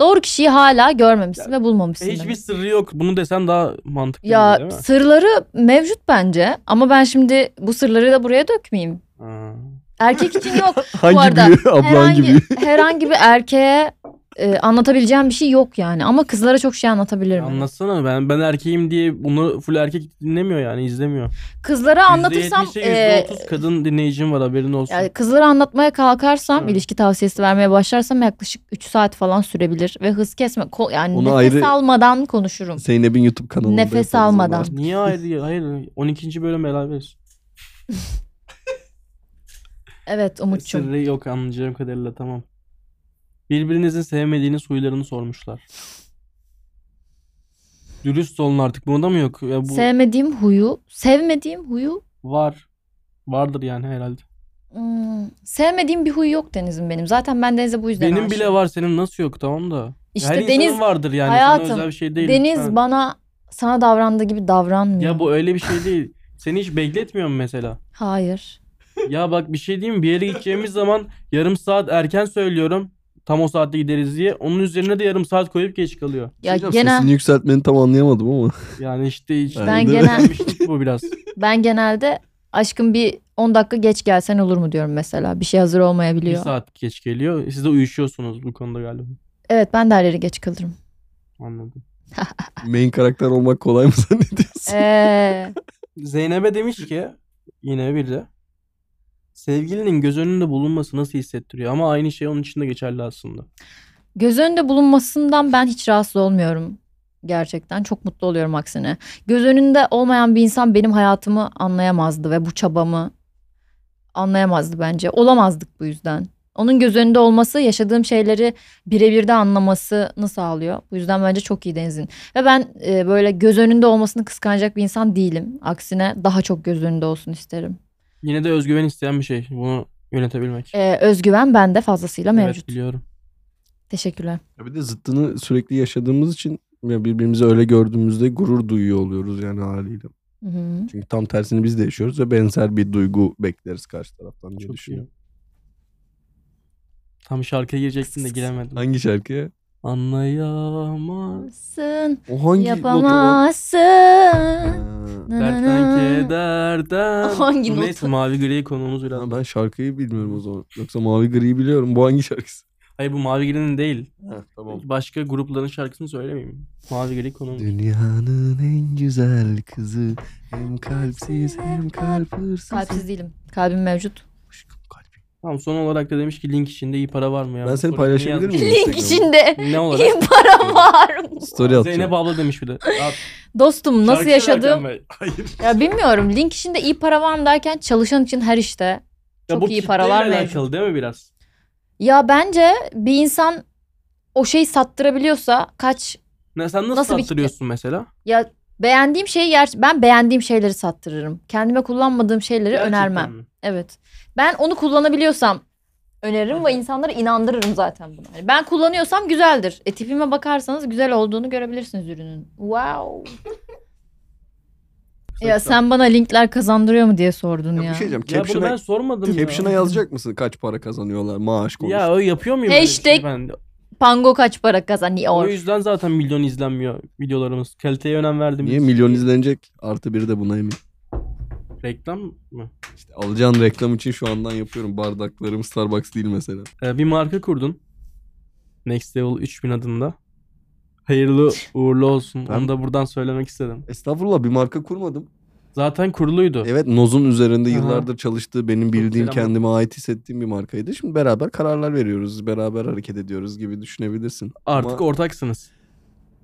Doğru kişiyi hala görmemişsin ve bulmamışsın. E, Hiçbir demek. sırrı yok. Bunu desen daha mantıklı ya, Ya değil mi? sırları mevcut bence ama ben şimdi bu sırları da buraya dökmeyeyim. Ha. Erkek için yok. Hangi arada büyü? Abla hangi büyü? herhangi, herhangi bir erkeğe e, anlatabileceğim bir şey yok yani ama kızlara çok şey anlatabilirim. Anlatsana ben ben erkeğim diye bunu full erkek dinlemiyor yani izlemiyor. Kızlara anlatırsam %70'e, e, %30 kadın dinleyicim var haberin olsun. yani kızlara anlatmaya kalkarsam, Hı. ilişki tavsiyesi vermeye başlarsam yaklaşık 3 saat falan sürebilir ve hız kesme ko- yani Onu nefes ayrı- almadan konuşurum. Zeynep'in YouTube kanalında. Nefes yaparız şey onu almadan. artık. Niye ayrı? Hayır 12. bölüm beraberiz. Evet Umut'cum. Sırrı yok anlayacağım kadarıyla tamam. Birbirinizin sevmediğiniz huylarını sormuşlar. Dürüst olun artık. Bunda mı yok? Ya bu Sevmediğim huyu, sevmediğim huyu, var. Vardır yani herhalde. Hmm, sevmediğim bir huyu yok Deniz'in benim. Zaten ben Deniz'e bu yüzden Benim aşığım. bile var senin nasıl yok tamam da. İşte Her insanın Deniz, vardır yani. hayatım, Sana özel bir şey değil. Deniz lütfen. bana sana davrandığı gibi davranmıyor. Ya bu öyle bir şey değil. Seni hiç bekletmiyorum mesela. Hayır. Ya bak bir şey diyeyim mi? bir yere gideceğimiz zaman yarım saat erken söylüyorum. Tam o saatte gideriz diye. Onun üzerine de yarım saat koyup geç kalıyor. Ya Hocam genel Sesini yükseltmeni tam anlayamadım ama. Yani işte hiç Ben ben de- genel Gelmişlik bu biraz. ben genelde aşkım bir 10 dakika geç gelsen olur mu diyorum mesela. Bir şey hazır Bir olmayabiliyor. saat geç geliyor. Siz de uyuşuyorsunuz bu konuda galiba. Evet ben de her yere geç kalırım. Anladım. Main karakter olmak kolay mı zannediyorsun? Ee, Zeynep'e demiş ki yine bir de sevgilinin göz önünde bulunması nasıl hissettiriyor? Ama aynı şey onun için de geçerli aslında. göz önünde bulunmasından ben hiç rahatsız olmuyorum. Gerçekten çok mutlu oluyorum aksine. Göz önünde olmayan bir insan benim hayatımı anlayamazdı ve bu çabamı anlayamazdı bence. Olamazdık bu yüzden. Onun göz önünde olması yaşadığım şeyleri birebir de anlamasını sağlıyor. Bu yüzden bence çok iyi Deniz'in. Ve ben e, böyle göz önünde olmasını kıskanacak bir insan değilim. Aksine daha çok göz önünde olsun isterim. Yine de özgüven isteyen bir şey. Bunu yönetebilmek. E, özgüven bende fazlasıyla mevcut. Evet biliyorum. Teşekkürler. Ya bir de zıttını sürekli yaşadığımız için ya birbirimizi öyle gördüğümüzde gurur duyuyor oluyoruz yani haliyle. Hı hı. Çünkü tam tersini biz de yaşıyoruz ve benzer bir duygu bekleriz karşı taraftan diye Çok iyi. düşünüyorum. Tam şarkıya girecektim de giremedim. Hangi şarkı? Anlayamaz. Yapamazsın, O hangi notu lan? yapamazsın. Ha, Na na Dertten na. kederden. Hangi Bu notu? Neyse mavi gri konumuz biraz. ben şarkıyı bilmiyorum o zaman. Yoksa Mavi Gri'yi biliyorum. Bu hangi şarkısı? Hayır bu mavi grinin değil. tamam. Başka grupların şarkısını söylemeyeyim. Mavi gri konumuz. Dünyanın en güzel kızı hem kalpsiz hem kalp hırsız. Kalpsiz değilim. Kalbim mevcut. Tamam son olarak da demiş ki link içinde iyi para var mı? Ya? Ben Bu seni soruyu niye paylaşabilir yazmış? miyim? Link içinde Ne olarak? iyi para var mı? Story atacağım. Zeynep abla demiş bir de. At. Dostum nasıl Şarkısı yaşadığım Erkan Bey. ya bilmiyorum. Link işinde iyi para var mı derken çalışan için her işte. Ya Çok bu iyi kitleyle paralar mevcut. alakalı değil mi biraz? Ya bence bir insan o şeyi sattırabiliyorsa kaç Ne, sen nasıl, Nasıl bir kitle? sattırıyorsun mesela? ya beğendiğim şeyi yer ben beğendiğim şeyleri sattırırım. Kendime kullanmadığım şeyleri Gerçekten önermem. mi? Evet. Ben onu kullanabiliyorsam öneririm ve insanları inandırırım zaten buna. Hani ben kullanıyorsam güzeldir. E tipime bakarsanız güzel olduğunu görebilirsiniz ürünün. Wow. Ya sen bana linkler kazandırıyor mu diye sordun Ya ya. bir şey diyeceğim. Ya bunu ben Caption'a, sormadım ya. caption'a yazacak mısın kaç para kazanıyorlar maaş konusu? Ya o yapıyor muyum? öyle bir şey Hashtag ben? Pango kaç para O kazanıyor? yüzden zaten milyon izlenmiyor videolarımız. Kaliteye önem verdim. Niye milyon izlenecek? Artı biri de buna emin. Reklam mı? İşte alacağın reklam için şu andan yapıyorum. Bardaklarım Starbucks değil mesela. Ee, bir marka kurdun. Next Level 3000 adında. Hayırlı uğurlu olsun. Ben- Onu da buradan söylemek istedim. Estağfurullah bir marka kurmadım. Zaten kuruluydu. Evet Noz'un üzerinde Aha. yıllardır çalıştığı benim bildiğim selam. kendime ait hissettiğim bir markaydı. Şimdi beraber kararlar veriyoruz. Beraber hareket ediyoruz gibi düşünebilirsin. Artık Ama ortaksınız.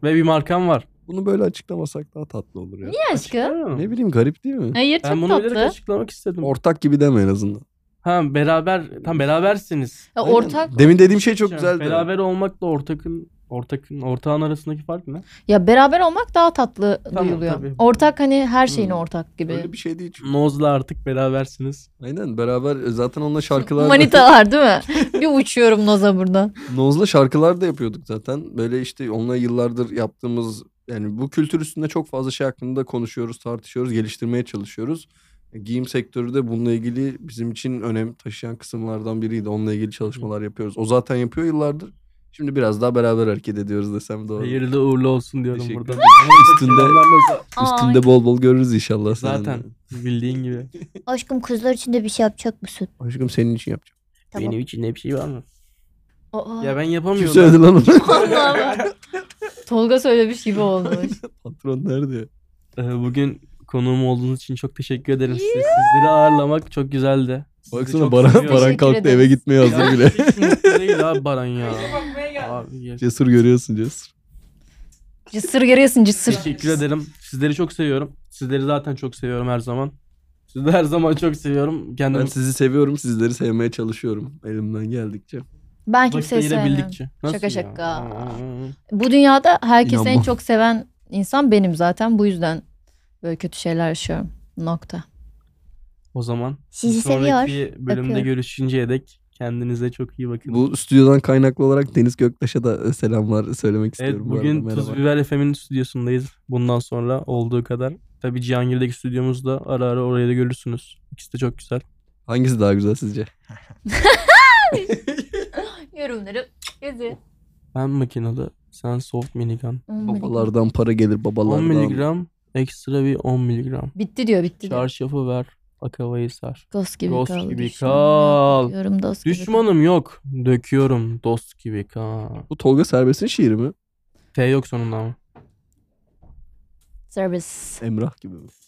Ve bir markam var. bunu böyle açıklamasak daha tatlı olur ya. Niye aşkım? Açıklar mı? Ne bileyim garip değil mi? Hayır Ben çok bunu bilerek tatlı. açıklamak istedim. Ortak gibi deme en azından. Ha beraber tam berabersiniz. Ya Aynen. ortak Demin dediğim şey çok Yani güzeldi. Beraber olmakla ortakın ortakın ortağın arasındaki fark ne? ya beraber olmak daha tatlı Tamam, duyuluyor. tabii. Ortak hani her şeyin Hmm. ortak gibi. Öyle bir şey değil. çünkü. Noz'la artık berabersiniz. Aynen beraber e, zaten onunla Şey, şarkılar Manitalar değil mi? bir uçuyorum noza buradan. Noz'la şarkılar da yapıyorduk zaten. Böyle işte onunla yıllardır yaptığımız yani bu kültür üstünde çok fazla şey hakkında konuşuyoruz, tartışıyoruz, geliştirmeye çalışıyoruz. E, Giyim sektörü de bununla ilgili bizim için önem taşıyan kısımlardan biriydi. Onunla ilgili çalışmalar yapıyoruz. O zaten yapıyor yıllardır. Şimdi biraz daha beraber hareket ediyoruz desem doğru. Hayırlı uğurlu olsun diyorum Teşekkür burada. ederim. Ama üstünde üstünde bol bol görürüz inşallah seninle. Zaten bildiğin gibi. Aşkım kızlar için de bir şey yapacak mısın? Aşkım senin için yapacağım. Tamam. Benim için ne bir şey var mı? Aa, Ya ben Kim yapamıyorum. söyledi lan onu? Allah'ım. Tolga söylemiş gibi olmuş. Patron nerede? ya? Ee, Bugün konuğum olduğunuz için çok teşekkür ederim size. Sizleri ağırlamak çok güzeldi. Sizi Baksana çok Baran, seviyorum. Baran Teşekkür kalktı eve ederiz. gitmeye Ya hazır bile. hiç mutlu değil abi Baran ya. Abi, ya. Cesur görüyorsun Cesur. Cısır geriyorsun cısır. Teşekkür ederim. Sizleri çok seviyorum. Sizleri zaten çok seviyorum her zaman. Sizi de her zaman çok seviyorum. Kendimi Ben sizi seviyorum, sizleri sevmeye çalışıyorum elimden geldikçe. Ben vakit kimseyi sevmiyorum. ayırabildikçe. Şaka ya? şaka. Aa, Bu dünyada herkes en İnanmam. çok seven insan benim zaten. Bu yüzden böyle kötü şeyler yaşıyorum. Nokta. O zaman Sizi bir sonraki seviyor. bölümde Öpüyorum. görüşünceye dek kendinize çok iyi bakın. Bu stüdyodan kaynaklı olarak Deniz Göktaş'a da e, selamlar söylemek evet istiyorum. bu arada. bugün Merhaba. Tuz Biber FM'in stüdyosundayız. Bundan sonra olduğu kadar. Tabii Cihangir'deki stüdyomuz da ara ara oraya da görürsünüz. İkisi de çok güzel. Hangisi daha güzel sizce? Yorumları yazın. Ben makinalı, sen soft minigun. Babalardan para gelir 10 babalardan. miligram, ekstra bir 10 miligram. Bitti diyor bitti diyor. Çarşafı ver, akavayı sar. Ghost gibi Ghost kal. gibi düşman kal. yok, Diyorum dost gibi kal. Düşmanım yok, döküyorum dost gibi kan. Bu Tolga Serbest'in şiiri mi? T yok sonunda ama. Service. Emrah gibi mi?